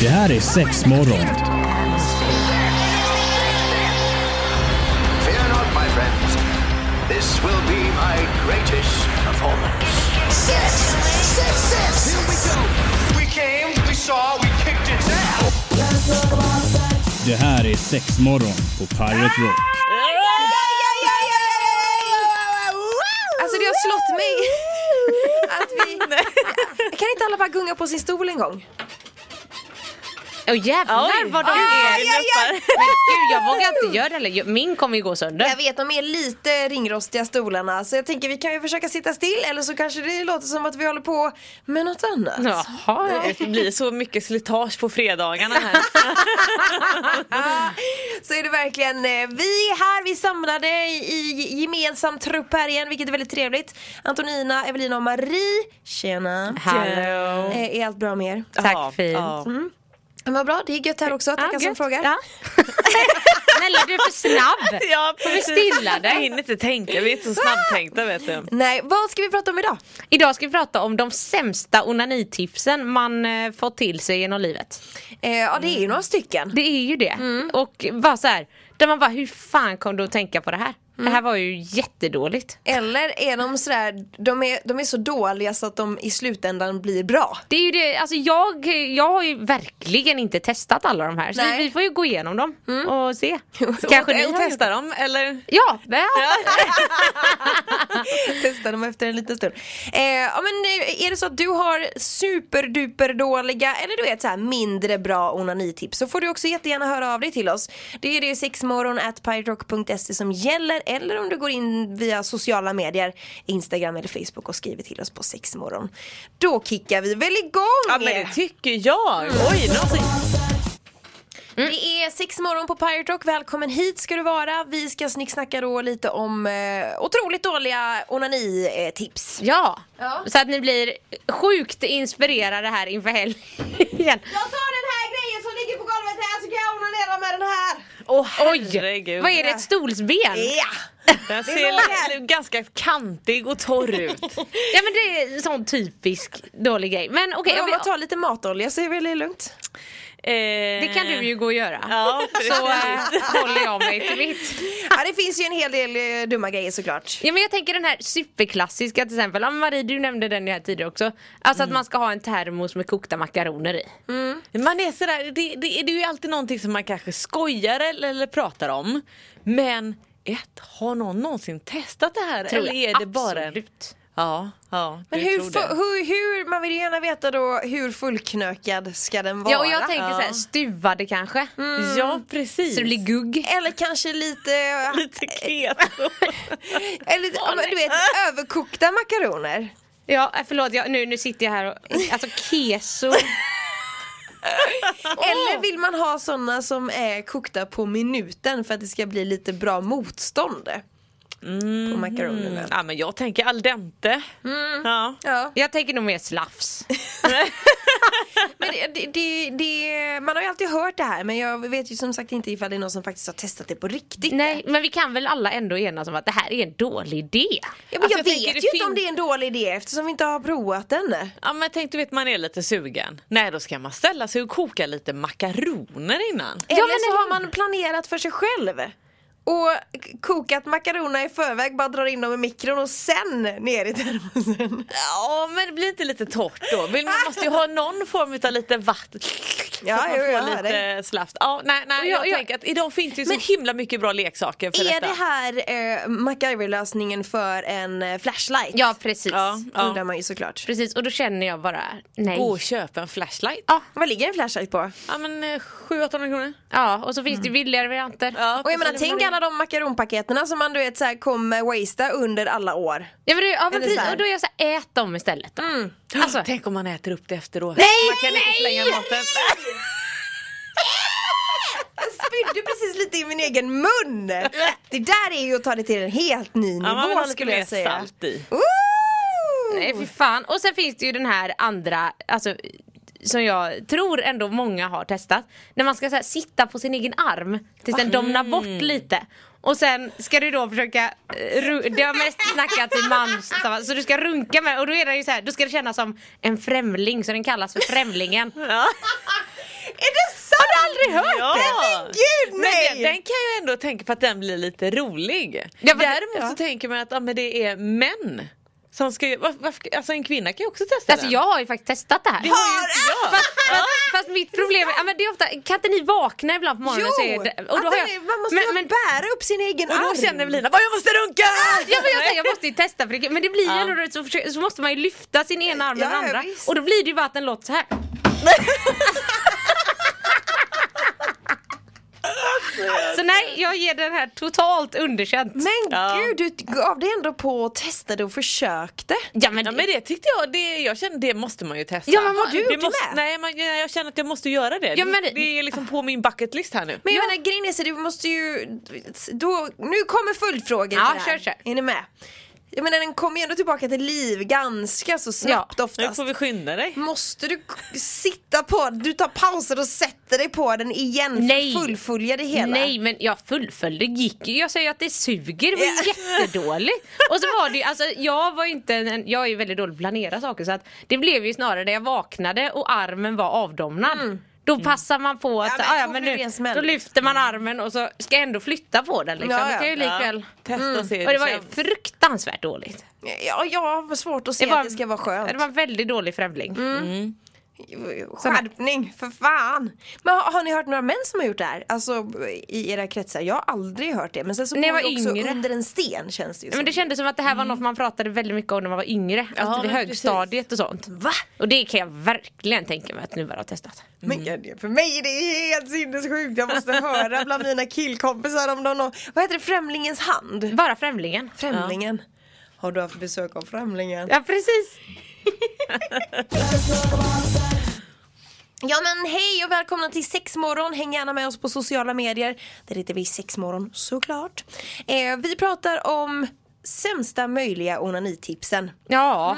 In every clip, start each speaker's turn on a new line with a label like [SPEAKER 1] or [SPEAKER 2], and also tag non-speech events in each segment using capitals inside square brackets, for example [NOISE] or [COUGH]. [SPEAKER 1] Det här är sex morgon.
[SPEAKER 2] Fear not, my friends. This will be my greatest performance.
[SPEAKER 3] Six, six, six. Here we go.
[SPEAKER 2] We came, we saw, we kicked its ass.
[SPEAKER 1] Det här är sex morgon på Pirate Rock.
[SPEAKER 4] Alltså det har slått
[SPEAKER 5] [LAUGHS]
[SPEAKER 4] mig att vi... Kan inte alla bara gunga på sin stol en gång?
[SPEAKER 5] Åh jävlar
[SPEAKER 6] Oj. Ah,
[SPEAKER 5] vad de
[SPEAKER 6] Oj,
[SPEAKER 5] är
[SPEAKER 6] oj,
[SPEAKER 5] nuppar. Men gud jag vågar inte göra det heller. Min kommer ju gå
[SPEAKER 4] Jag
[SPEAKER 5] sönder.
[SPEAKER 4] vet, de är lite ringrostiga stolarna så jag tänker vi kan ju försöka sitta still eller så kanske det låter som att vi håller på med något annat.
[SPEAKER 5] Jaha.
[SPEAKER 6] Det blir så mycket slitage på fredagarna här.
[SPEAKER 4] Så är det verkligen, eh, vi är här, vi är samlade i, i gemensam trupp här igen vilket är väldigt trevligt. Antonina, Evelina och Marie, tjena.
[SPEAKER 5] Hallå.
[SPEAKER 4] Eh, Är allt bra med er?
[SPEAKER 5] [LAUGHS] Tack
[SPEAKER 6] Ja,
[SPEAKER 5] fint.
[SPEAKER 6] ja.
[SPEAKER 4] Men Vad bra, det är gött här också, tackar som
[SPEAKER 5] gött.
[SPEAKER 4] frågar.
[SPEAKER 5] Ja. [LAUGHS] Snälla du är för snabb.
[SPEAKER 6] Ja,
[SPEAKER 5] Får vi
[SPEAKER 6] precis.
[SPEAKER 5] stilla dig?
[SPEAKER 6] Jag hinner inte tänka, vi är inte så snabbtänkta vet du.
[SPEAKER 4] Nej, vad ska vi prata om idag?
[SPEAKER 5] Idag ska vi prata om de sämsta onanitipsen man eh, fått till sig genom livet.
[SPEAKER 4] Eh, ja, det är
[SPEAKER 5] Mm.
[SPEAKER 4] ju några stycken.
[SPEAKER 5] Det är ju det.
[SPEAKER 6] Mm.
[SPEAKER 5] Och bara så här, där man bara hur fan kom du att tänka på det här? Det
[SPEAKER 6] Mm.
[SPEAKER 5] här var ju jättedåligt.
[SPEAKER 4] Eller är de sådär, de är, de är så dåliga så att de i slutändan blir bra.
[SPEAKER 5] Det är ju det, alltså jag, jag har ju verkligen inte testat alla de här så
[SPEAKER 4] Nej. Mm.
[SPEAKER 5] vi, vi får ju gå igenom dem
[SPEAKER 4] [LAUGHS]
[SPEAKER 5] och se.
[SPEAKER 4] Så
[SPEAKER 5] Kanske
[SPEAKER 6] Och
[SPEAKER 5] ni har gjort
[SPEAKER 6] testar dem eller?
[SPEAKER 5] Ja, ja.
[SPEAKER 4] Testa dem efter en liten stund. Eh, ja men eh, är det så att du har superduper dåliga eller du vet såhär mindre bra onanitips så får du också jättegärna höra av dig till oss. Det är det sexmorgon at piraterock.se som gäller eller om du går in via sociala medier, Instagram eller Facebook och skriver till oss på sexmorgon. Då kickar vi väl igång!
[SPEAKER 6] Ja men det tycker jag.
[SPEAKER 5] Mm.
[SPEAKER 6] Oj, någonting.
[SPEAKER 4] Mm. Det är sex morgon på Pirate Rock, välkommen hit ska du vara. Vi ska snicksnacka då lite om eh, otroligt dåliga onani-tips.
[SPEAKER 5] ja.
[SPEAKER 4] Ja.
[SPEAKER 5] Så att ni blir sjukt inspirerade här inför helgen.
[SPEAKER 4] Jag tar den här grejen som ligger på golvet här så kan jag onanera med den här.
[SPEAKER 6] Åh
[SPEAKER 5] Oj,
[SPEAKER 6] herregud.
[SPEAKER 5] vad är det? Ett stolsben?
[SPEAKER 4] Mm.
[SPEAKER 5] [LAUGHS]
[SPEAKER 4] Ja!
[SPEAKER 6] Den
[SPEAKER 4] låg här.
[SPEAKER 6] ser ganska kantig och torr
[SPEAKER 5] [LAUGHS]
[SPEAKER 6] ut.
[SPEAKER 5] Ja men det är en sån typisk dålig grej. Men okej,
[SPEAKER 4] Om
[SPEAKER 5] jag
[SPEAKER 4] man tar lite matolja så är väl det lugnt.
[SPEAKER 5] det kan du ju gå och göra.
[SPEAKER 6] Ja,
[SPEAKER 5] Så
[SPEAKER 6] precis.
[SPEAKER 5] äh, håller jag mig till mitt.
[SPEAKER 4] Ja det finns ju en hel del eh, dumma grejer såklart.
[SPEAKER 5] Ja men jag tänker den här superklassiska till exempel, ja, men Marie du nämnde den ju här tidigare också. Alltså
[SPEAKER 6] Mm.
[SPEAKER 5] att man ska ha en termos med kokta makaroner i.
[SPEAKER 6] Man är sådär, det, det, det är ju alltid någonting som man kanske skojar eller, eller pratar om. Men ett, har någon någonsin testat det här?
[SPEAKER 5] Tror
[SPEAKER 6] eller
[SPEAKER 5] jag.
[SPEAKER 6] är det bara en...
[SPEAKER 5] Absolut.
[SPEAKER 6] Ja, ja.
[SPEAKER 4] Men
[SPEAKER 6] du
[SPEAKER 4] hur,
[SPEAKER 6] tror
[SPEAKER 4] fu-
[SPEAKER 6] det.
[SPEAKER 4] hur, hur, man vill ju gärna veta då hur fullknökad ska den vara?
[SPEAKER 5] Ja och jag tänker såhär stuvade kanske.
[SPEAKER 6] Ja, precis.
[SPEAKER 5] Så det blir gugg.
[SPEAKER 4] Eller kanske lite,
[SPEAKER 5] [LAUGHS]
[SPEAKER 4] eh,
[SPEAKER 6] lite keto.
[SPEAKER 4] [LAUGHS] eller, ja, men du vet överkokta makaroner.
[SPEAKER 5] Ja äh, förlåt jag, nu, nu sitter jag här och, alltså keso.
[SPEAKER 6] [LAUGHS]
[SPEAKER 4] Eller vill man ha såna som är kokta på minuten för att det ska bli lite bra motstånd
[SPEAKER 6] Mm.
[SPEAKER 4] på makaronerna?
[SPEAKER 6] [LAUGHS] ja, men jag tänker al dente.
[SPEAKER 5] Mm.
[SPEAKER 6] Ja.
[SPEAKER 4] Ja,
[SPEAKER 5] Jag tänker nog mer slafs.
[SPEAKER 4] men det, det, det, det, man har ju alltid hört det här men jag vet ju som sagt inte ifall det är någon som faktiskt har testat det på riktigt.
[SPEAKER 5] Nej men vi kan väl alla ändå enas om att det här är en dålig idé.
[SPEAKER 4] Ja, men
[SPEAKER 6] Alltså,
[SPEAKER 4] jag
[SPEAKER 6] jag
[SPEAKER 4] vet ju
[SPEAKER 6] tänker det
[SPEAKER 4] inte om
[SPEAKER 6] fin-
[SPEAKER 4] det är en dålig idé eftersom vi inte har provat den.
[SPEAKER 6] ja, men tänk du vet man är lite sugen. Nej, då ska man ställa sig och koka lite makaroner innan.
[SPEAKER 4] Eller
[SPEAKER 5] men
[SPEAKER 4] så
[SPEAKER 5] eller
[SPEAKER 4] har man planerat för sig själv och k- kokat makaronerna i förväg, bara drar in dem i mikron och sen ner i termosen.
[SPEAKER 6] Ja, men det blir inte lite torrt då? Vill man måste ju ha någon form av lite vatten.
[SPEAKER 4] Ja,
[SPEAKER 6] så att man
[SPEAKER 4] jo, jag
[SPEAKER 6] får
[SPEAKER 4] hör dig.
[SPEAKER 6] lite slaft. Ja, nej, nej,
[SPEAKER 5] jag-
[SPEAKER 6] jag,
[SPEAKER 5] jag-
[SPEAKER 6] tänker att idag finns det ju så himla mycket bra leksaker för
[SPEAKER 4] [LAUGHS] Är
[SPEAKER 6] detta.
[SPEAKER 4] det här eh, MacGyver-lösningen för en eh, flashlight?
[SPEAKER 5] Ja precis.
[SPEAKER 6] Ja,
[SPEAKER 4] Undrar
[SPEAKER 6] ja.
[SPEAKER 4] man ju såklart.
[SPEAKER 5] Precis och då känner jag bara nej.
[SPEAKER 6] Gå och köp en flashlight.
[SPEAKER 5] Ja.
[SPEAKER 4] Vad ligger en flashlight på?
[SPEAKER 6] Ja, men eh, 700-800 kronor.
[SPEAKER 5] Ja och så finns det billigare varianter.
[SPEAKER 6] Mm. Ja,
[SPEAKER 4] Och jag menar
[SPEAKER 6] precis.
[SPEAKER 4] tänk alla de makaronpaketerna som man du vet så här kommer wastea under alla år.
[SPEAKER 5] Ja men, det, ja, men
[SPEAKER 4] Eller så
[SPEAKER 5] precis,
[SPEAKER 4] här.
[SPEAKER 5] och då är jag så här, ät dem istället då. Alltså,
[SPEAKER 6] Mm. Tänk om man äter upp det efteråt.
[SPEAKER 5] Nej,
[SPEAKER 6] man kan inte
[SPEAKER 5] nej!
[SPEAKER 6] slänga maten.
[SPEAKER 4] Jag spydde precis lite i min egen [LAUGHS] mun! Det där är ju att ta det till en helt ny nivå
[SPEAKER 6] Ja, man vill ha lite
[SPEAKER 4] skulle
[SPEAKER 6] mer
[SPEAKER 4] jag säga.
[SPEAKER 6] salt i.
[SPEAKER 4] Ooh!
[SPEAKER 5] nej fy fan. Och sen finns det ju den här andra, alltså som jag tror ändå många har testat. När man ska så här, sitta på sin egen arm tills
[SPEAKER 4] Ah.
[SPEAKER 5] den domnar bort
[SPEAKER 4] Mm.
[SPEAKER 5] lite. Och sen ska du då försöka, eh, ru- det har mest snackats i mans, så du ska runka
[SPEAKER 4] [LAUGHS]
[SPEAKER 5] med och då är det ju så här, då ska det kännas som en främling så den kallas för främlingen. aldrig hört
[SPEAKER 6] Ja.
[SPEAKER 4] Gud
[SPEAKER 6] Men den, den kan jag ändå tänka på att den blir lite rolig.
[SPEAKER 5] Ja, men-
[SPEAKER 6] Däremot
[SPEAKER 5] ja.
[SPEAKER 6] så tänker man att ja, men det är män som ska... Varför, varför, alltså en kvinna kan ju också testa
[SPEAKER 5] Alltså
[SPEAKER 6] den.
[SPEAKER 5] jag har ju faktiskt testat det här.
[SPEAKER 6] har ju inte jag.
[SPEAKER 5] Fast, fast, fast mitt problem är, ja, men det är ofta, kan inte ni vakna ibland på morgonen
[SPEAKER 4] Jo!
[SPEAKER 5] och säga det? Och
[SPEAKER 4] att
[SPEAKER 5] då har
[SPEAKER 4] den
[SPEAKER 5] jag,
[SPEAKER 4] är- man måste
[SPEAKER 5] men, men,
[SPEAKER 4] bära upp sin egen
[SPEAKER 6] Och
[SPEAKER 4] arm.
[SPEAKER 6] då känner Evelina, "Vad, jag måste runka!
[SPEAKER 5] [LAUGHS] Ja, men jag, säger, jag måste ju testa för det, men det blir ju ändå så, försöker- så måste man ju lyfta sin ena arm med
[SPEAKER 4] Ja, ja,
[SPEAKER 5] den andra
[SPEAKER 4] visst.
[SPEAKER 5] och då blir det ju bara att den låter så
[SPEAKER 4] [LAUGHS]
[SPEAKER 5] här. så nej, jag ger den här totalt underkänt.
[SPEAKER 4] Men gud, du gav dig ändå på och testade och försökte.
[SPEAKER 5] Ja men,
[SPEAKER 6] Ja men det tyckte jag, det, jag kände det måste man ju testa.
[SPEAKER 5] Ja, men har du
[SPEAKER 6] det
[SPEAKER 5] gjort det
[SPEAKER 6] måste,
[SPEAKER 4] med?
[SPEAKER 6] Nej, man, nej jag känner att jag måste göra det.
[SPEAKER 5] Ja, men-
[SPEAKER 6] det, det är liksom på min bucket list här nu.
[SPEAKER 4] Men jag menar grejen är så du måste ju, då, nu kommer följdfrågor på
[SPEAKER 5] Ja,
[SPEAKER 4] det här.
[SPEAKER 5] kör, kör.
[SPEAKER 4] Är ni med? Jag menar den kommer ju ändå tillbaka till liv ganska så snabbt
[SPEAKER 6] nu
[SPEAKER 4] oftast.
[SPEAKER 6] får vi skynda
[SPEAKER 5] Mm,
[SPEAKER 6] dig.
[SPEAKER 4] Måste du k- sitta på du tar pauser och sätter dig på den igen
[SPEAKER 5] Nej.
[SPEAKER 4] för att fullfölja det hela?
[SPEAKER 5] Nej men jag fullföljde, gick ju. Jag säger ju att det suger, det var
[SPEAKER 4] Ja. [LAUGHS]
[SPEAKER 5] jättedåligt. Och så var det ju, alltså jag var ju inte, en- en, jag är ju väldigt dålig på att planera saker så att det blev ju snarare när jag vaknade och armen var avdomnad. Då passar man på att,
[SPEAKER 4] Mm. Ja,
[SPEAKER 5] ja,
[SPEAKER 4] men
[SPEAKER 5] men, ja,
[SPEAKER 4] två flugor
[SPEAKER 5] men
[SPEAKER 4] i en
[SPEAKER 5] nu,
[SPEAKER 4] smäll.
[SPEAKER 5] då lyfter man armen och så ska jag ändå flytta på den liksom.
[SPEAKER 4] Ja, ja.
[SPEAKER 5] Det kan ju likväl.
[SPEAKER 6] Testa och se hur
[SPEAKER 5] Mm. Och det
[SPEAKER 6] det,
[SPEAKER 5] var ju
[SPEAKER 6] känns.
[SPEAKER 5] fruktansvärt dåligt.
[SPEAKER 4] Ja, jag har svårt att se att det ska vara skönt.
[SPEAKER 5] Det var en väldigt dålig främling.
[SPEAKER 4] Mm. Skärpning, för fan! Men har, har ni hört några män som har gjort det här? Alltså i era kretsar? Jag har aldrig hört det. Men sen så
[SPEAKER 5] När
[SPEAKER 4] går
[SPEAKER 5] jag var
[SPEAKER 4] det också
[SPEAKER 5] yngre.
[SPEAKER 4] under en sten känns det ju
[SPEAKER 5] Nej, Men det
[SPEAKER 4] som.
[SPEAKER 5] kändes som att det här var något man pratade väldigt mycket om när man var yngre. alltså vid
[SPEAKER 6] men
[SPEAKER 5] högstadiet och sånt.
[SPEAKER 4] Va?
[SPEAKER 5] Och det kan jag verkligen tänka mig att nu bara har testat.
[SPEAKER 4] Men jag- för mig är det helt sinnessjukt. Jag måste
[SPEAKER 5] [LAUGHS]
[SPEAKER 4] höra bland mina killkompisar om de har... Vad heter det? Främlingens hand?
[SPEAKER 5] Bara främlingen.
[SPEAKER 4] Främlingen. Har du haft besök av främlingen?
[SPEAKER 5] Ja precis.
[SPEAKER 4] Ja men hej och välkomna till sexmorgon. Häng gärna med oss på sociala medier. Där heter vi sexmorgon såklart. Eh, vi pratar om sämsta möjliga onanitipsen.
[SPEAKER 5] Ja,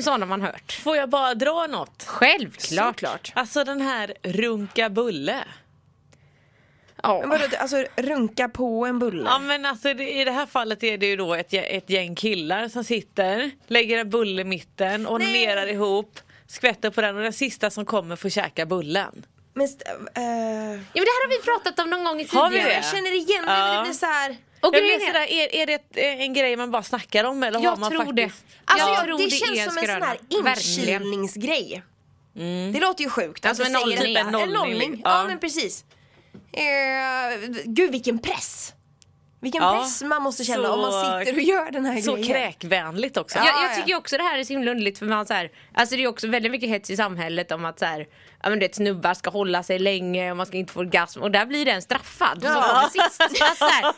[SPEAKER 5] sådana man hört.
[SPEAKER 6] Får jag bara dra något?
[SPEAKER 5] Självklart.
[SPEAKER 4] Såklart.
[SPEAKER 6] Alltså den här runka bulle.
[SPEAKER 4] Men
[SPEAKER 5] Ja.
[SPEAKER 4] vadå, alltså runka på en bulle?
[SPEAKER 6] Ja men alltså det, i det här fallet är det ju då ett, gä- ett gäng killar som sitter, lägger en bulle i mitten, onanerar ihop, skvätter på den och den sista som kommer får käka bullen.
[SPEAKER 4] Men st- eh,
[SPEAKER 5] ja men det här har vi pratat om någon gång i tidigare.
[SPEAKER 6] Har vi det?
[SPEAKER 4] jag känner igen mig men
[SPEAKER 6] Ja.
[SPEAKER 4] det blir så här.
[SPEAKER 5] Och
[SPEAKER 6] jag blir
[SPEAKER 5] grejen är-
[SPEAKER 6] sådär, är, är det ett, eh, en grej man bara snackar om eller har
[SPEAKER 5] Jag
[SPEAKER 6] man
[SPEAKER 5] tror
[SPEAKER 6] faktiskt...
[SPEAKER 5] det.
[SPEAKER 4] Alltså,
[SPEAKER 5] jag
[SPEAKER 4] jag,
[SPEAKER 5] tror
[SPEAKER 4] det,
[SPEAKER 5] det
[SPEAKER 4] känns
[SPEAKER 5] är en
[SPEAKER 4] som en sån här
[SPEAKER 5] skröna. Verkligen.
[SPEAKER 4] inkilningsgrej. Det låter ju sjukt.
[SPEAKER 5] Alltså
[SPEAKER 4] att
[SPEAKER 5] en
[SPEAKER 4] du säger
[SPEAKER 5] nollning.
[SPEAKER 4] detta.
[SPEAKER 5] Typ en
[SPEAKER 4] En
[SPEAKER 6] nollning.
[SPEAKER 4] nollning. Ja,
[SPEAKER 6] Ja.
[SPEAKER 4] men precis. Eh, gud vilken press. Vilken
[SPEAKER 6] Ja.
[SPEAKER 4] press man måste känna
[SPEAKER 6] Så-
[SPEAKER 4] om man sitter och gör den här
[SPEAKER 6] Så
[SPEAKER 4] grejen.
[SPEAKER 6] kräkvänligt också. [LAUGHS]
[SPEAKER 5] Jag,
[SPEAKER 4] ja.
[SPEAKER 5] jag tycker också det här är så himla underligt för man så här, alltså det är också väldigt mycket hets i samhället om att så här, ja men du vet snubbar ska hålla sig länge och man ska inte få orgasm och där blir den straffad som kommer sist. Alltså, så här,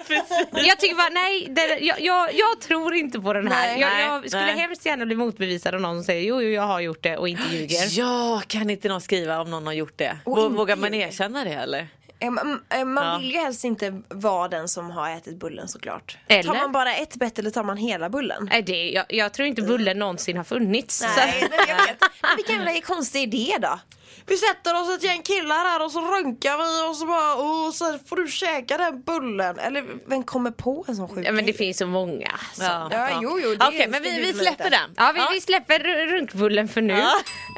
[SPEAKER 5] jag tycker bara nej, det, jag, jag, jag tror inte på den här.
[SPEAKER 4] Nej,
[SPEAKER 5] jag,
[SPEAKER 6] nej,
[SPEAKER 5] jag skulle
[SPEAKER 6] nej.
[SPEAKER 5] hemskt gärna bli motbevisad av någon som säger jo, jo jag har gjort det och inte ljuger.
[SPEAKER 6] Ja, kan inte någon skriva om någon har gjort det?
[SPEAKER 4] Och
[SPEAKER 6] Vå-
[SPEAKER 4] inte
[SPEAKER 6] Vågar man
[SPEAKER 4] ljuger.
[SPEAKER 6] erkänna det eller?
[SPEAKER 4] Eh, Man, eh, man
[SPEAKER 6] Ja.
[SPEAKER 4] vill ju helst inte vara den som har ätit bullen såklart.
[SPEAKER 5] Eller?
[SPEAKER 4] Tar man bara ett bett eller tar man hela bullen?
[SPEAKER 5] Nej, det, jag, jag tror inte bullen någonsin har funnits. Så
[SPEAKER 4] Nej, nej, jag vet. Men vilken jävla konstig idé då. Vi sätter oss ett gäng killar här och så runkar vi och så bara och så får du käka den bullen. Eller vem kommer på en sån sjuk
[SPEAKER 5] ja, men det
[SPEAKER 4] grej?
[SPEAKER 5] finns så många. Så.
[SPEAKER 6] Ja.
[SPEAKER 4] Ja, jo, jo. det
[SPEAKER 6] Okej, men vi,
[SPEAKER 4] stod
[SPEAKER 6] vi
[SPEAKER 4] ut med
[SPEAKER 6] släpper
[SPEAKER 4] lite.
[SPEAKER 6] den.
[SPEAKER 5] Ja, vi, vi släpper ru- runkbullen för nu.
[SPEAKER 6] Ja.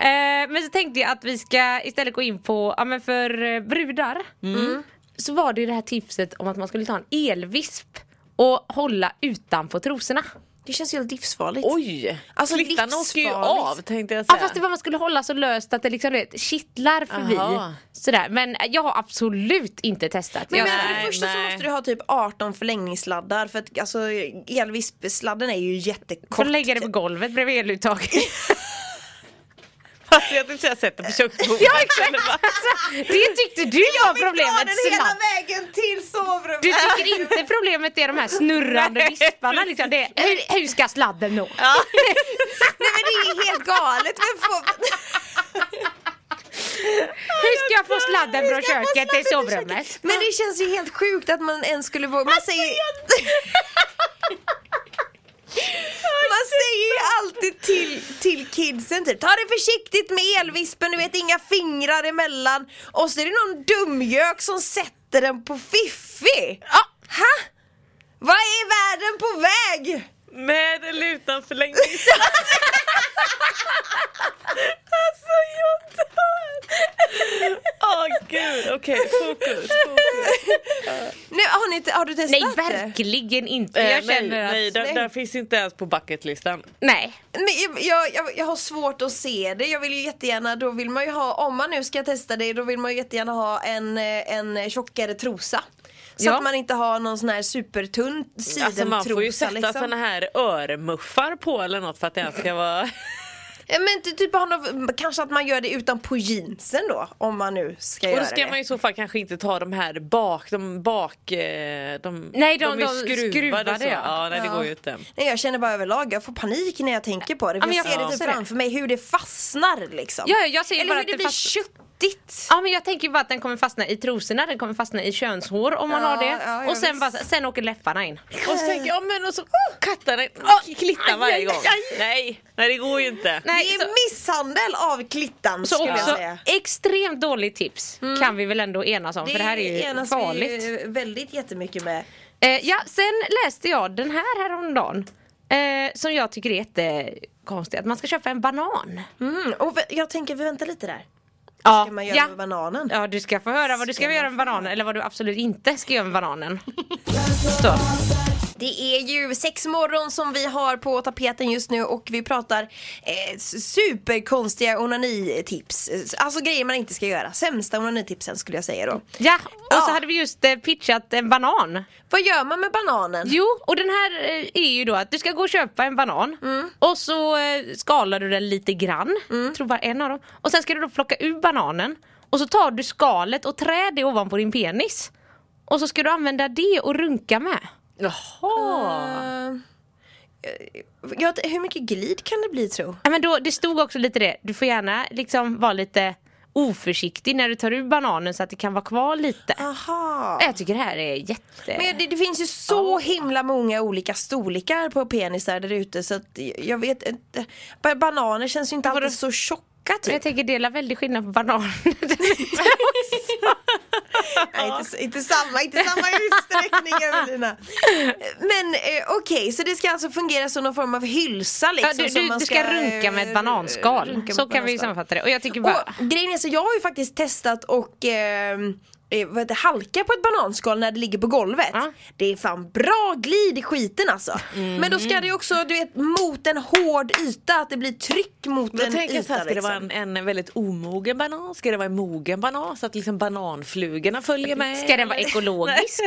[SPEAKER 5] Eh, men så tänkte jag att vi ska istället gå in på, ja men för eh, brudar. Mm. Så var det ju det här tipset om att man skulle ta en elvisp och hålla utanpå trosorna.
[SPEAKER 4] Det känns ju helt livsfarligt.
[SPEAKER 6] Oj!
[SPEAKER 4] Alltså,
[SPEAKER 6] Klittan åker ju
[SPEAKER 4] livsfarligt.
[SPEAKER 6] av tänkte jag
[SPEAKER 5] Ja
[SPEAKER 6] säga.
[SPEAKER 5] fast det var man skulle hålla så löst att det liksom du vet, kittlar förbi.
[SPEAKER 6] Aha.
[SPEAKER 5] Sådär. Men jag har absolut inte testat.
[SPEAKER 4] Men,
[SPEAKER 5] jag,
[SPEAKER 4] men för
[SPEAKER 6] Nej,
[SPEAKER 4] det första så
[SPEAKER 6] nej.
[SPEAKER 4] måste du ha typ 18 förlängningssladdar för att alltså elvispsladden är ju jättekort.
[SPEAKER 5] får lägga det på golvet bredvid eluttaget. [LAUGHS]
[SPEAKER 6] Fast jag tänkte säga sätta på köksbordet.
[SPEAKER 5] ja
[SPEAKER 6] [LAUGHS]
[SPEAKER 5] exakt! Alltså, Det tyckte du var problemet slapp.
[SPEAKER 4] vägen till sovrummet.
[SPEAKER 5] Du tycker inte problemet är de här snurrande
[SPEAKER 6] Nej,
[SPEAKER 5] visparna liksom. Det är, hur, hur ska sladden nå?
[SPEAKER 4] [LAUGHS] Nej men det är helt galet. Men får...
[SPEAKER 5] Hur ska jag få sladden från köket till sovrummet? Alltså,
[SPEAKER 4] Men det känns ju helt sjukt att man ens skulle våga. Man säger... [LAUGHS] Man säger ju alltid till, till kidsen typ, ta det försiktigt med elvispen, du vet inga fingrar emellan. Och så är det någon dumgök som sätter den på Fiffi. Ja. Ha? Vad är världen på väg?
[SPEAKER 6] Med eller utan förlängning.
[SPEAKER 4] [LAUGHS]
[SPEAKER 6] alltså jag dör! Åh gud, okej okej, fokus.
[SPEAKER 4] Nej, har, ni, inte- har du testat
[SPEAKER 5] Nej
[SPEAKER 4] det?
[SPEAKER 5] verkligen inte.
[SPEAKER 6] Eh,
[SPEAKER 5] Jag
[SPEAKER 6] nej,
[SPEAKER 5] känner att...
[SPEAKER 6] nej, den,
[SPEAKER 4] nej.
[SPEAKER 6] den finns inte ens på bucketlistan.
[SPEAKER 5] nej.
[SPEAKER 4] Men jag- jag, jag, jag har svårt att se det. Jag vill ju jättegärna, då vill man ju ha, om man nu ska testa det, då vill man ju jättegärna ha en, eh, en tjockare trosa. Så
[SPEAKER 5] Ja.
[SPEAKER 4] att man inte har någon sån här supertunn sidentrosa
[SPEAKER 6] Alltså man får ju sätta
[SPEAKER 4] liksom.
[SPEAKER 6] såna här örmuffar på eller något för att det ens ska vara...
[SPEAKER 4] Ja, Men inte typ ha någon, kanske att man gör det utanpå jeansen då, om man nu ska
[SPEAKER 6] Och
[SPEAKER 4] göra
[SPEAKER 6] då
[SPEAKER 4] [LAUGHS]
[SPEAKER 6] ska
[SPEAKER 4] det.
[SPEAKER 6] man i så fall kanske inte ta de här bak, de bak... eh, De,
[SPEAKER 5] Nej, de-
[SPEAKER 6] är ju
[SPEAKER 5] de skruvade,
[SPEAKER 6] så.
[SPEAKER 5] ja.
[SPEAKER 6] ja. Nej det
[SPEAKER 4] Ja.
[SPEAKER 6] går ju inte.
[SPEAKER 4] Nej, jag känner bara överlag, jag får panik när jag tänker på det.
[SPEAKER 5] Ja,
[SPEAKER 4] För
[SPEAKER 5] men
[SPEAKER 4] jag,
[SPEAKER 5] jag
[SPEAKER 4] ser det
[SPEAKER 5] också
[SPEAKER 4] typ
[SPEAKER 5] det.
[SPEAKER 4] framför mig hur det fastnar liksom.
[SPEAKER 5] Ja, ja, jag ser ju
[SPEAKER 4] Eller
[SPEAKER 5] bara
[SPEAKER 4] hur
[SPEAKER 5] att
[SPEAKER 4] det
[SPEAKER 5] det
[SPEAKER 4] blir
[SPEAKER 5] fast-
[SPEAKER 4] köttigt.
[SPEAKER 5] Ja men jag tänker bara att den kommer fastna i trosorna, den kommer fastna i könshår om man
[SPEAKER 4] Ja,
[SPEAKER 5] har det.
[SPEAKER 4] ja, ja,
[SPEAKER 5] och sen,
[SPEAKER 4] visst.
[SPEAKER 5] bara, sen åker läpparna in.
[SPEAKER 6] Och så tänker jag, ja, men och så kattar den, klittar varje gång. Nej, nej det går ju inte.
[SPEAKER 5] Nej,
[SPEAKER 4] det är
[SPEAKER 5] så-
[SPEAKER 4] misshandel av klittan
[SPEAKER 5] Så
[SPEAKER 4] skulle jag
[SPEAKER 5] också
[SPEAKER 4] säga.
[SPEAKER 5] extremt dåligt tips kan vi väl ändå enas om för Mm. det här är ju
[SPEAKER 4] enas
[SPEAKER 5] farligt.
[SPEAKER 4] vi eh, väldigt jättemycket med.
[SPEAKER 5] Eh, ja, sen läste jag den här häromdagen eh, som jag tycker är jättekonstig att man ska köpa en banan.
[SPEAKER 4] Mm, och vä- jag tänker vi väntar lite där.
[SPEAKER 5] Ja,
[SPEAKER 4] Ska man göra
[SPEAKER 5] ja.
[SPEAKER 4] med bananen?
[SPEAKER 5] ja, du ska få höra vad du ska,
[SPEAKER 4] Ska
[SPEAKER 5] göra
[SPEAKER 4] man
[SPEAKER 5] med bananen eller vad du absolut inte ska göra
[SPEAKER 4] [LAUGHS]
[SPEAKER 5] med bananen.
[SPEAKER 4] Det är ju sex morgon som vi har på tapeten just nu och vi pratar eh, s- superkonstiga onanitips. Eh, Alltså grejer man inte ska göra. Sämsta onanitipsen skulle jag säga då.
[SPEAKER 5] Ja, och så
[SPEAKER 4] Ja.
[SPEAKER 5] hade vi just eh, pitchat en banan.
[SPEAKER 4] Vad gör man med bananen?
[SPEAKER 5] Jo, och den här eh, är ju då att du ska gå och köpa en banan och så eh, skalar du den lite grann, tror bara en av dem. Och sen ska du då plocka ur bananen och så tar du skalet och trär det ovanpå din penis. Och så ska du använda det och runka med.
[SPEAKER 6] Jaha.
[SPEAKER 4] Eh, Ja, t- hur mycket glid kan det bli tro?
[SPEAKER 5] Ja, men då, det stod också lite det, du får gärna liksom vara lite oförsiktig när du tar ur bananen så att det kan vara kvar lite.
[SPEAKER 4] Aha.
[SPEAKER 5] Jag tycker det här är jätte...
[SPEAKER 4] Men det, det finns ju så himla många olika storlekar på penisar där ute så att jag vet inte. Ba- Bananer känns ju inte alltid så tjocka
[SPEAKER 5] Men Jag
[SPEAKER 4] typ.
[SPEAKER 5] tänker dela väldigt skillnad på bananen. [LAUGHS]
[SPEAKER 4] Nej, inte, s- inte samma, inte
[SPEAKER 5] [LAUGHS]
[SPEAKER 4] samma utsträckning Evelina. Men eh, okej, så det ska alltså fungera som någon form av hylsa liksom.
[SPEAKER 5] Ja, du,
[SPEAKER 4] som
[SPEAKER 5] du,
[SPEAKER 4] man
[SPEAKER 5] du ska runka med ett
[SPEAKER 4] eh,
[SPEAKER 5] bananskal.
[SPEAKER 4] runka med ett
[SPEAKER 5] så kan vi
[SPEAKER 4] bananskal.
[SPEAKER 5] sammanfatta det. Och jag tycker bara,
[SPEAKER 4] Och grejen är så jag har ju faktiskt testat och eh, eh, vad heter, det, halka på ett bananskal när det ligger på golvet.
[SPEAKER 5] Ja.
[SPEAKER 4] Det är fan bra glid i skiten alltså. Men då
[SPEAKER 6] Mm.
[SPEAKER 4] ska det ju också du vet, mot en hård yta, att det blir tryck mot
[SPEAKER 6] Då
[SPEAKER 4] en
[SPEAKER 6] tänker jag så
[SPEAKER 4] yta. liksom.
[SPEAKER 6] här, ska det vara en, en väldigt omogen banan? Ska det vara en mogen banan så att liksom bananflugorna följer med?
[SPEAKER 5] ska den
[SPEAKER 4] [LAUGHS]
[SPEAKER 5] vara ekologisk?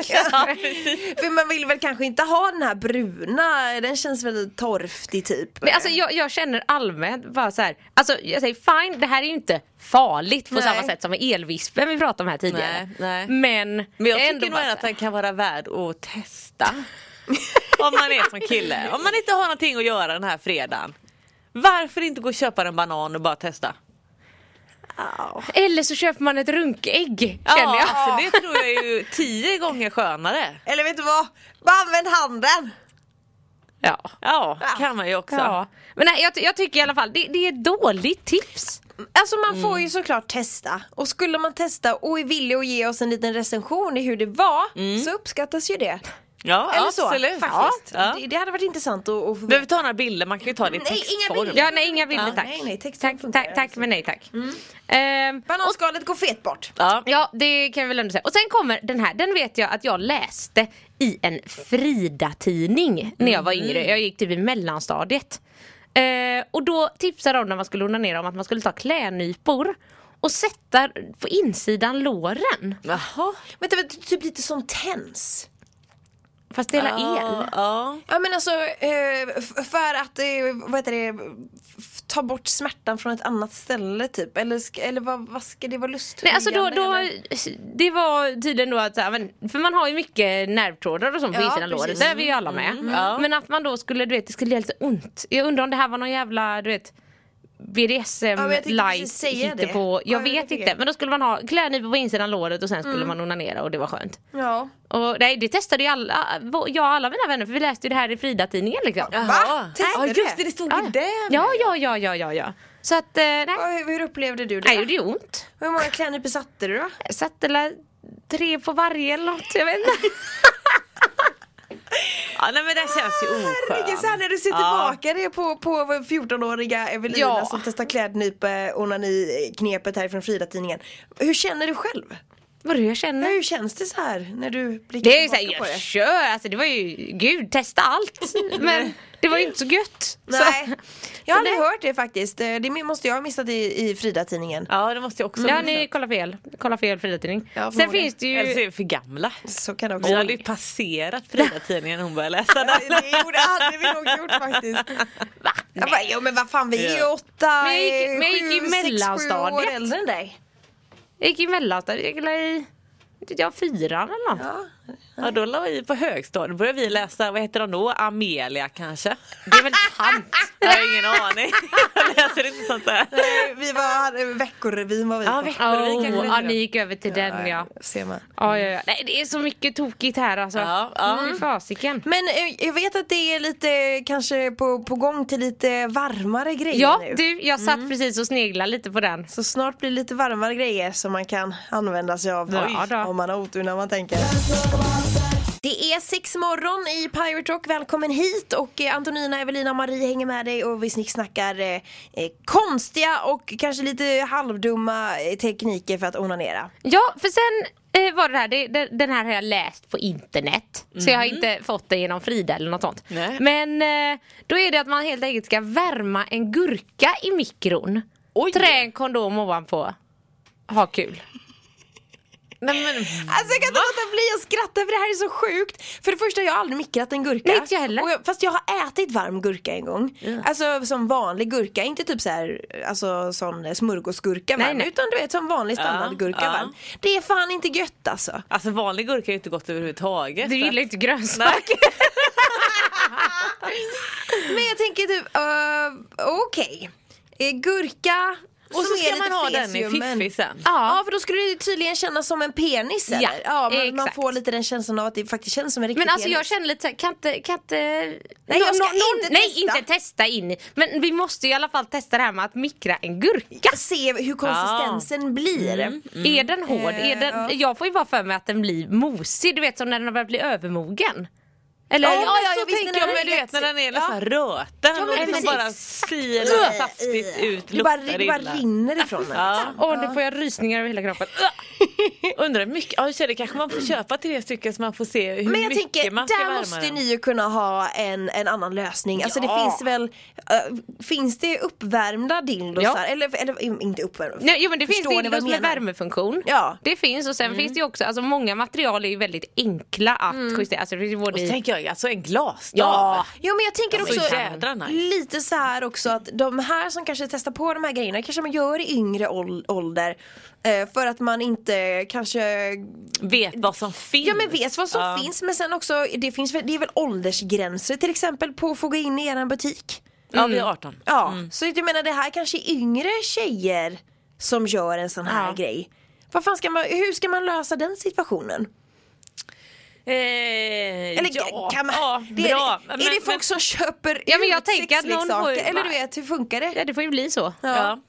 [SPEAKER 4] För man vill väl kanske inte ha den här bruna, den känns väl torftig typ. [LAUGHS]
[SPEAKER 5] Men alltså jag, jag känner allmänt bara så här, alltså jag säger fine, det här är ju inte farligt på
[SPEAKER 4] Nej.
[SPEAKER 5] samma sätt som med elvispen vi pratade om här tidigare.
[SPEAKER 6] Nej, nej.
[SPEAKER 5] Men,
[SPEAKER 6] Men jag
[SPEAKER 5] det är
[SPEAKER 6] tycker nog
[SPEAKER 5] bara
[SPEAKER 6] ändå att
[SPEAKER 5] så här-
[SPEAKER 6] den kan vara värd att testa. Om man är som kille. Om man inte har någonting att göra den här fredagen. Varför inte gå och köpa en banan och bara testa?
[SPEAKER 5] Eller så köper man ett runkägg känner jag.
[SPEAKER 6] alltså, det tror jag är ju tio gånger skönare.
[SPEAKER 4] Eller vet du vad? Bara använd handen!
[SPEAKER 5] Ja.
[SPEAKER 6] Ja, kan man ju också.
[SPEAKER 5] Ja. Men nej, jag, ty- jag tycker i alla fall det, det är ett dåligt tips.
[SPEAKER 4] Alltså man får ju såklart testa och skulle man testa och är villig att ge oss en liten recension i hur det var så uppskattas ju det.
[SPEAKER 6] Ja,
[SPEAKER 4] Eller så,
[SPEAKER 6] absolut.
[SPEAKER 4] faktiskt.
[SPEAKER 6] Ja.
[SPEAKER 4] Det, det hade varit intressant att, att få
[SPEAKER 6] Behöver vi ta några bilder? Man kan ju ta det i
[SPEAKER 4] Nej, inga
[SPEAKER 6] textform.
[SPEAKER 4] bilder.
[SPEAKER 5] Ja, nej inga bilder
[SPEAKER 4] Mm. Ja,
[SPEAKER 5] tack.
[SPEAKER 4] nej, nej, texten
[SPEAKER 5] tack,
[SPEAKER 4] funkar Mm.
[SPEAKER 5] tack, tack men nej tack. Ehm,
[SPEAKER 4] Bananskalet går fet bort.
[SPEAKER 6] Ja.
[SPEAKER 5] Ja det kan vi väl ändå säga. Och sen kommer den här, den vet jag att jag läste i en Frida-tidning när jag var
[SPEAKER 6] Mhm.
[SPEAKER 5] yngre. Jag gick typ i mellanstadiet. Eh, och då tipsade de när man skulle onanera om att man skulle ta klädnypor och sätta på insidan låren.
[SPEAKER 6] Jaha.
[SPEAKER 4] Vänta, vänta, typ lite som tens.
[SPEAKER 5] Fast det är hela
[SPEAKER 6] Ja,
[SPEAKER 5] el.
[SPEAKER 6] ja.
[SPEAKER 4] Ja men alltså eh, f- för att eh, vad heter det, f- ta bort smärtan från ett annat ställe typ. Eller, sk- eller vad, vad ska det vara
[SPEAKER 5] Nej,
[SPEAKER 4] lusthuggande?
[SPEAKER 5] alltså då, då,
[SPEAKER 4] eller?
[SPEAKER 5] det var tydligen då att, så här, men- för man har ju mycket nervtrådar och sånt på
[SPEAKER 4] Ja,
[SPEAKER 5] insidan av låret,
[SPEAKER 4] precis. Mm.
[SPEAKER 5] det är vi ju alla med. Men att man då skulle, du vet, det skulle göra lite ont. Jag undrar om det här var någon jävla, du vet BDSM
[SPEAKER 4] men jag tänkte precis
[SPEAKER 5] light
[SPEAKER 4] säga det.
[SPEAKER 5] på.
[SPEAKER 4] Ja,
[SPEAKER 5] jag
[SPEAKER 4] jag
[SPEAKER 5] vet
[SPEAKER 4] vet
[SPEAKER 5] inte.
[SPEAKER 4] det. Mm.
[SPEAKER 5] Men då skulle man ha klädnypor på insidan av låret och sen skulle man onanera och det var skönt.
[SPEAKER 4] Ja.
[SPEAKER 5] Och nej, det testade ju alla, jag och alla mina vänner för vi läste ju det här i Frida-tidningen liksom. Ja,
[SPEAKER 6] Jaha.
[SPEAKER 4] Testade
[SPEAKER 6] Ja, just det, det stod ju där.
[SPEAKER 5] ja, ja, ja, ja, ja, ja. Så att, eh, nej,
[SPEAKER 4] Ja, Ah. hur, hur upplevde du det?
[SPEAKER 5] nej,
[SPEAKER 4] då?
[SPEAKER 5] det gjorde ont.
[SPEAKER 4] Hur många klädnypor satte du då?
[SPEAKER 5] Jag satte la tre på varje eller något, jag vet inte.
[SPEAKER 6] Ja, nej, men det känns ju
[SPEAKER 4] Ah, Herregud, så här
[SPEAKER 6] oskön.
[SPEAKER 4] när du ser tillbaka det på, på 14-åriga Evelina
[SPEAKER 5] Ja.
[SPEAKER 4] som testar klädnype onani knepet här från Frida-tidningen. Hur känner du själv?
[SPEAKER 5] Vadå jag känner?
[SPEAKER 4] Hur känns det så här när du blickar
[SPEAKER 5] Det är ju
[SPEAKER 4] tillbaka
[SPEAKER 5] såhär,
[SPEAKER 4] på det?
[SPEAKER 5] jag kör, alltså det var ju, gud testa allt. Men det var ju inte så gött.
[SPEAKER 4] Nej,
[SPEAKER 5] Så.
[SPEAKER 4] jag har
[SPEAKER 5] Så
[SPEAKER 4] aldrig
[SPEAKER 5] det-
[SPEAKER 4] hört det faktiskt. Eh, Det måste jag ha missat i, i Frida-tidningen.
[SPEAKER 6] Ja det måste jag också
[SPEAKER 5] [LAUGHS] Ja
[SPEAKER 6] missa.
[SPEAKER 5] ni kollar fel, kollar fel Frida-tidning.
[SPEAKER 4] Ja,
[SPEAKER 5] Sen
[SPEAKER 4] förmodligen.
[SPEAKER 5] finns det
[SPEAKER 6] Eller så
[SPEAKER 5] ju,
[SPEAKER 6] är vi för gamla.
[SPEAKER 4] Så kan det också
[SPEAKER 6] Vi
[SPEAKER 4] vara.
[SPEAKER 6] hade ju passerat Frida-tidningen hon började läsa
[SPEAKER 4] Ja,
[SPEAKER 6] den.
[SPEAKER 4] det gjorde- hade vi nog gjort faktiskt.
[SPEAKER 5] va?
[SPEAKER 4] Jag bara, jo men vad fan vi är ju
[SPEAKER 6] Ja.
[SPEAKER 4] åtta,
[SPEAKER 5] Men jag gick-
[SPEAKER 4] eh,
[SPEAKER 5] men jag gick i
[SPEAKER 4] sju, sex, sju år
[SPEAKER 5] mellanstadiet.
[SPEAKER 4] äldre än dig.
[SPEAKER 5] Jag gick i mellanstadiet, jag gillar i, jag var fyran eller något.
[SPEAKER 4] Ja.
[SPEAKER 6] Ja då la vi på högstadiet, då började vi läsa, vad heter de då? Amelia kanske?
[SPEAKER 5] Det är väl sant?
[SPEAKER 6] Jag har ingen aning, [LAUGHS] jag läser inte sånt där.
[SPEAKER 4] Eh, Vi var, eh, veckorevyn var vi
[SPEAKER 6] Ja,
[SPEAKER 4] på.
[SPEAKER 6] veck-
[SPEAKER 5] Oh, ja ni gick över till den ja.
[SPEAKER 4] Ser man.
[SPEAKER 5] Ja, ja, ja. Nej, det är så mycket tokigt här alltså.
[SPEAKER 6] Ja, ja.
[SPEAKER 5] Fy fasiken.
[SPEAKER 4] Men eh, jag vet att det är lite kanske på, på gång till lite varmare grejer
[SPEAKER 5] Ja,
[SPEAKER 4] nu.
[SPEAKER 5] du, jag satt precis och sneglade lite på den.
[SPEAKER 4] Så snart blir det lite varmare grejer som man kan använda sig av
[SPEAKER 5] Ja, då.
[SPEAKER 4] om man har otur när man tänker. Det är sex morgon i Pirate Rock. Välkommen hit och eh, Antonina, Evelina och Marie hänger med dig och vi snicksnackar eh, eh, konstiga och kanske lite halvdumma eh, tekniker för att onanera.
[SPEAKER 5] Ja, för sen eh, var det här, det, det, den här har jag läst på internet. Så jag har inte fått det genom Frida eller något sånt.
[SPEAKER 6] Nej.
[SPEAKER 5] Men eh, då är det att man helt enkelt ska värma en gurka i mikron.
[SPEAKER 6] Oj.
[SPEAKER 5] Trä en kondom ovanpå. Ha kul.
[SPEAKER 6] Nej, men,
[SPEAKER 4] Alltså jag kan inte låta bli att skratta för det här är så sjukt. För det första, jag har aldrig mikrat en gurka.
[SPEAKER 5] Nej, inte jag heller.
[SPEAKER 4] Och jag, fast jag har ätit varm gurka en gång. Alltså som vanlig gurka, inte typ så här, alltså sån smörgåsgurka
[SPEAKER 5] Nej,
[SPEAKER 4] varm.
[SPEAKER 5] nej.
[SPEAKER 4] Utan du vet som vanlig standardgurka
[SPEAKER 6] ja.
[SPEAKER 4] varm. Det är fan inte gött alltså.
[SPEAKER 6] alltså vanlig gurka är ju inte gott överhuvudtaget.
[SPEAKER 5] Du
[SPEAKER 6] så
[SPEAKER 5] gillar
[SPEAKER 6] att-
[SPEAKER 5] inte grönsaker.
[SPEAKER 4] Men jag tänker typ, uh, okej. Eh, Gurka.
[SPEAKER 6] Och så
[SPEAKER 4] som är
[SPEAKER 6] ska
[SPEAKER 4] lite
[SPEAKER 6] man ha den i
[SPEAKER 4] fesiumen.
[SPEAKER 6] fiffi sen.
[SPEAKER 4] Ja. för då skulle det ju tydligen kännas som en penis eller?
[SPEAKER 5] Ja,
[SPEAKER 4] man, man
[SPEAKER 5] exakt.
[SPEAKER 4] får lite den känslan av att det faktiskt känns som en riktig
[SPEAKER 5] [LAUGHS] Men alltså
[SPEAKER 4] penis.
[SPEAKER 5] jag känner lite såhär, kan inte, kan inte... Nej
[SPEAKER 4] jag ska inte
[SPEAKER 5] Nej
[SPEAKER 4] testa.
[SPEAKER 5] inte testa in i. Men vi måste ju i alla fall testa det här med att mikra en gurka.
[SPEAKER 4] Se hur konsistensen blir.
[SPEAKER 5] Är den hård? Är den,
[SPEAKER 4] Mm. Eh, ja.
[SPEAKER 5] Jag får ju bara för mig att den blir mosig, du vet som när den har börjat bli övermogen. Eller?
[SPEAKER 4] Ja,
[SPEAKER 6] Ja,
[SPEAKER 4] men
[SPEAKER 6] ja,
[SPEAKER 4] så
[SPEAKER 6] jag
[SPEAKER 4] visst,
[SPEAKER 6] tänker
[SPEAKER 4] den
[SPEAKER 6] jag
[SPEAKER 4] är
[SPEAKER 6] men du vet
[SPEAKER 4] lätt-
[SPEAKER 6] när den är
[SPEAKER 4] Ja.
[SPEAKER 6] ja. röten
[SPEAKER 4] Ja, men
[SPEAKER 6] och liksom
[SPEAKER 4] precis.
[SPEAKER 6] bara silar saftigt ut,
[SPEAKER 4] Det bara,
[SPEAKER 6] luktar
[SPEAKER 4] det bara
[SPEAKER 6] illa.
[SPEAKER 4] rinner
[SPEAKER 6] [LAUGHS]
[SPEAKER 4] ifrån liksom. den.
[SPEAKER 6] Ja.
[SPEAKER 5] Åh nu får jag rysningar över hela kroppen.
[SPEAKER 6] Undrar hur mycket, ja, så det kanske man får köpa tre stycken så man får se hur
[SPEAKER 4] Mm. Men jag
[SPEAKER 6] mycket
[SPEAKER 4] tänker,
[SPEAKER 6] man ska
[SPEAKER 4] där
[SPEAKER 6] värma
[SPEAKER 4] måste
[SPEAKER 6] den.
[SPEAKER 4] ni ju kunna ha en, en annan lösning. Alltså det
[SPEAKER 5] Ja.
[SPEAKER 4] finns väl, eh, finns det uppvärmda dildosar?
[SPEAKER 5] Ja.
[SPEAKER 4] Eller, eller inte uppvärmda.
[SPEAKER 5] Nej, jo, men det
[SPEAKER 4] Förstår ni vad
[SPEAKER 5] finns
[SPEAKER 4] jag
[SPEAKER 5] dildos med
[SPEAKER 4] menar?
[SPEAKER 5] värmefunktion.
[SPEAKER 4] Ja. Mm.
[SPEAKER 5] Det finns och sen finns det ju också, alltså många material är ju väldigt enkla att
[SPEAKER 4] Mm.
[SPEAKER 5] justera. Alltså, det finns ju både
[SPEAKER 6] Och
[SPEAKER 5] i-
[SPEAKER 6] så tänker jag, alltså en glasdag.
[SPEAKER 5] Ja.
[SPEAKER 4] Jo men jag tänker
[SPEAKER 6] men
[SPEAKER 4] också
[SPEAKER 6] jädra nice.
[SPEAKER 4] lite så här också att de här som kanske testar på de här grejerna kanske man gör i yngre ål- ålder eh, för att man inte kanske
[SPEAKER 6] Vet vad som finns.
[SPEAKER 4] Ja men vet vad som
[SPEAKER 6] Ja.
[SPEAKER 4] finns men sen också det, finns, väl- det är väl åldersgränser till exempel på att få gå in i er butik.
[SPEAKER 6] Ja,
[SPEAKER 4] Mm.
[SPEAKER 6] vi är 18.
[SPEAKER 4] Ja,
[SPEAKER 5] Mm.
[SPEAKER 4] så jag menar det här kanske är yngre tjejer som gör en sån här
[SPEAKER 5] Ja.
[SPEAKER 4] grej. Vad fan ska man, hur ska man lösa den situationen?
[SPEAKER 6] Eh,
[SPEAKER 4] Eller
[SPEAKER 6] ja,
[SPEAKER 4] kan man,
[SPEAKER 6] ja,
[SPEAKER 4] det,
[SPEAKER 6] bra.
[SPEAKER 4] Är,
[SPEAKER 6] Men-
[SPEAKER 4] är det folk
[SPEAKER 6] men-
[SPEAKER 4] som köper
[SPEAKER 5] Ja, men jag
[SPEAKER 4] ut
[SPEAKER 5] tänker att någon
[SPEAKER 4] sexleksaker?
[SPEAKER 5] får ju-
[SPEAKER 4] Eller du vet, hur funkar det?
[SPEAKER 5] Ja det får ju bli så
[SPEAKER 6] Ja.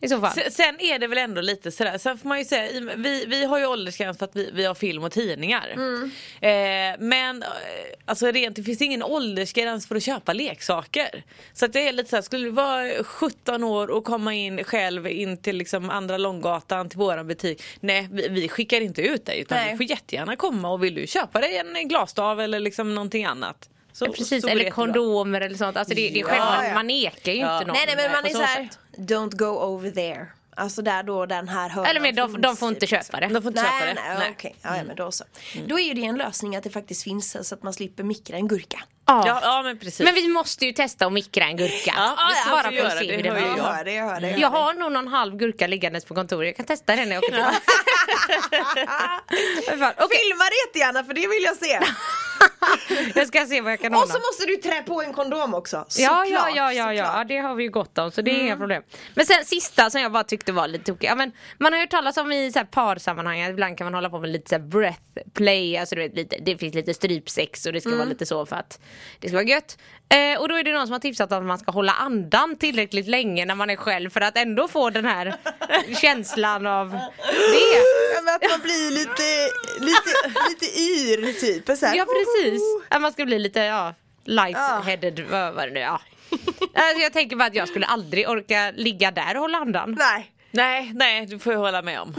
[SPEAKER 5] i så fall.
[SPEAKER 6] Se- Sen är det väl ändå lite sådär, sen får man ju säga, i- vi, vi har ju åldersgräns för att vi, vi har film och tidningar.
[SPEAKER 5] Mm.
[SPEAKER 6] Eh, men eh, alltså rent, det finns ingen åldersgräns för att köpa leksaker. Så att det är lite såhär, skulle du vara 17 år och komma in själv in till liksom andra långgatan till våran butik. Nej vi, vi skickar inte ut dig utan
[SPEAKER 4] Nej.
[SPEAKER 6] du får jättegärna komma och vill du köpa dig en glasstav eller liksom någonting annat. Så,
[SPEAKER 5] Precis,
[SPEAKER 6] så går det
[SPEAKER 5] eller
[SPEAKER 6] jättebra.
[SPEAKER 5] kondomer eller sånt. Alltså det, det är själva,
[SPEAKER 4] Ja, ja.
[SPEAKER 5] man nekar ju
[SPEAKER 6] Ja.
[SPEAKER 5] inte någon.
[SPEAKER 4] Nej nej men man
[SPEAKER 6] på
[SPEAKER 4] är
[SPEAKER 6] så
[SPEAKER 4] så här, don't go over there. Alltså där då den här hörnan
[SPEAKER 5] Eller men de, de får inte
[SPEAKER 4] finns, typ.
[SPEAKER 5] köpa det.
[SPEAKER 6] De får inte
[SPEAKER 4] Nej,
[SPEAKER 6] köpa det.
[SPEAKER 4] nej, okej. Ja, ja, men då så.
[SPEAKER 5] Mm.
[SPEAKER 4] Då är ju det en lösning att det faktiskt finns så att man slipper mikra en gurka.
[SPEAKER 5] Ja.
[SPEAKER 6] Ja, ja men precis.
[SPEAKER 5] Men vi måste ju testa att mikra en gurka.
[SPEAKER 6] Typ. Ja,
[SPEAKER 5] Vi ska bara
[SPEAKER 6] ja, får
[SPEAKER 5] för att
[SPEAKER 6] göra
[SPEAKER 5] se
[SPEAKER 6] det.
[SPEAKER 5] hur det
[SPEAKER 6] Det har
[SPEAKER 5] blir.
[SPEAKER 6] ju
[SPEAKER 4] Jag hör det, jag hör det.
[SPEAKER 5] Jag har nog någon halv gurka liggandes på kontoret. Jag kan testa den när jag åker tillbaka. [LAUGHS] Men fan, Okej,
[SPEAKER 4] Filma det jättegärna för det vill jag
[SPEAKER 5] [LAUGHS]
[SPEAKER 4] se.
[SPEAKER 5] jag ska se vad jag kan
[SPEAKER 4] Och
[SPEAKER 5] ordna.
[SPEAKER 4] så måste du trä på en kondom också.
[SPEAKER 5] Ja,
[SPEAKER 4] Såklart,
[SPEAKER 5] ja, ja, ja, ja, ja,
[SPEAKER 4] såklart. Mm.
[SPEAKER 5] det har vi ju gott om så det är inga problem. Men sen sista som jag bara tyckte var lite tokig. Ja, men man har ju hört talas om i så här parsammanhang att ibland kan man hålla på med lite så här breath play, alltså du vet, lite, det finns lite strypsex och det ska
[SPEAKER 4] Mm.
[SPEAKER 5] vara lite så för att det ska vara gött. Eh, och då är det någon som har tipsat att man ska hålla andan tillräckligt länge när man är själv för att ändå få den här [LAUGHS] känslan av det.
[SPEAKER 4] Ja, men att man blir lite, lite, lite yr typ. Så här.
[SPEAKER 5] Ja precis, att man ska bli lite ja, light-headed, vad var det nu ja. Alltså, jag tänker bara att jag skulle aldrig orka ligga där och hålla andan.
[SPEAKER 4] Nej.
[SPEAKER 6] Nej, nej, du får jag hålla med om.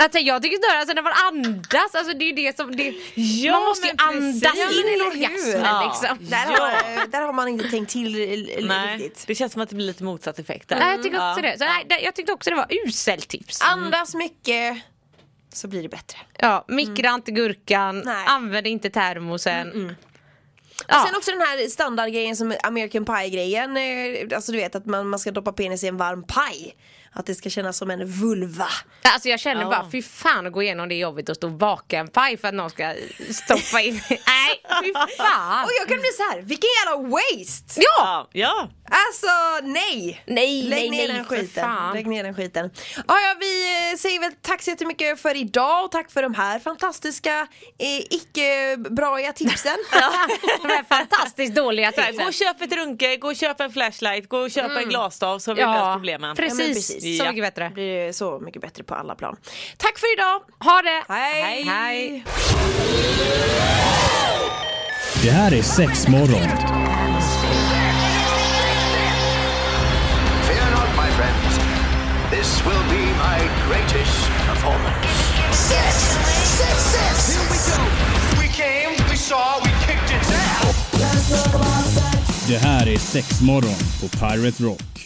[SPEAKER 5] Alltså, jag tycker snarare alltså, när man andas, alltså, det är ju det som... Det,
[SPEAKER 6] Ja,
[SPEAKER 5] man måste ju
[SPEAKER 6] men precis.
[SPEAKER 5] andas
[SPEAKER 6] Ja,
[SPEAKER 5] in
[SPEAKER 6] men
[SPEAKER 5] i
[SPEAKER 4] eller hur?
[SPEAKER 5] orgasmen
[SPEAKER 6] Ja.
[SPEAKER 5] liksom.
[SPEAKER 4] Där har, där har man inte tänkt till eh,
[SPEAKER 6] Nej, Mm.
[SPEAKER 4] riktigt.
[SPEAKER 6] det känns som att det blir lite motsatt effekt där.
[SPEAKER 5] Nej, jag tycker också
[SPEAKER 6] Ja.
[SPEAKER 5] det. Så, nej, det- jag tyckte också det var uselt tips.
[SPEAKER 4] Andas mycket så blir det bättre.
[SPEAKER 5] Ja, mikra inte gurkan,
[SPEAKER 4] Nej.
[SPEAKER 5] använd inte termosen.
[SPEAKER 4] Och
[SPEAKER 5] Ja.
[SPEAKER 4] sen också den här standardgrejen som American Pie-grejen. eh, Alltså du vet att man, man ska doppa penis i en varm paj. Att det ska kännas som en vulva.
[SPEAKER 5] Alltså jag känner bara, fy fan att gå igenom det jobbet och stå och baka en paj för att någon ska stoppa [LAUGHS] in. Nej, fy fan.
[SPEAKER 4] Och jag kan bli så här, vilken jävla waste!
[SPEAKER 5] Ja!
[SPEAKER 6] Ja, ja.
[SPEAKER 4] Alltså nej!
[SPEAKER 5] Mm. Nej,
[SPEAKER 4] Lägg
[SPEAKER 5] nej,
[SPEAKER 4] ner
[SPEAKER 5] nej,
[SPEAKER 4] den
[SPEAKER 5] för
[SPEAKER 4] skiten.
[SPEAKER 5] fan.
[SPEAKER 4] Lägg ner den skiten. Ja, ja, vi eh, säger väl tack så jättemycket för idag och tack för de här fantastiska, eh, icke-braiga tipsen.
[SPEAKER 5] [LAUGHS] [LAUGHS] De här
[SPEAKER 4] [LAUGHS]
[SPEAKER 5] fantastiskt dåliga
[SPEAKER 6] Så här, gå
[SPEAKER 5] tipsen.
[SPEAKER 6] och köp ett runke, gå och köp en flashlight, gå och köp en glasstav så har vi löst problemen.
[SPEAKER 5] precis.
[SPEAKER 4] Ja, men precis.
[SPEAKER 5] Så
[SPEAKER 6] Mm. Ja.
[SPEAKER 5] mycket bättre.
[SPEAKER 4] blir [LAUGHS] det så mycket bättre på alla plan. Tack för idag!
[SPEAKER 5] Ha det!
[SPEAKER 4] Hej!
[SPEAKER 5] Hej.
[SPEAKER 1] Det här är sex morgon.
[SPEAKER 2] Fear not, my friends. This will be my greatest performance.
[SPEAKER 3] Six, six, six. Here we go.
[SPEAKER 2] We came, we saw, we kicked its ass.
[SPEAKER 1] Det här är sex morgon på Pirate Rock.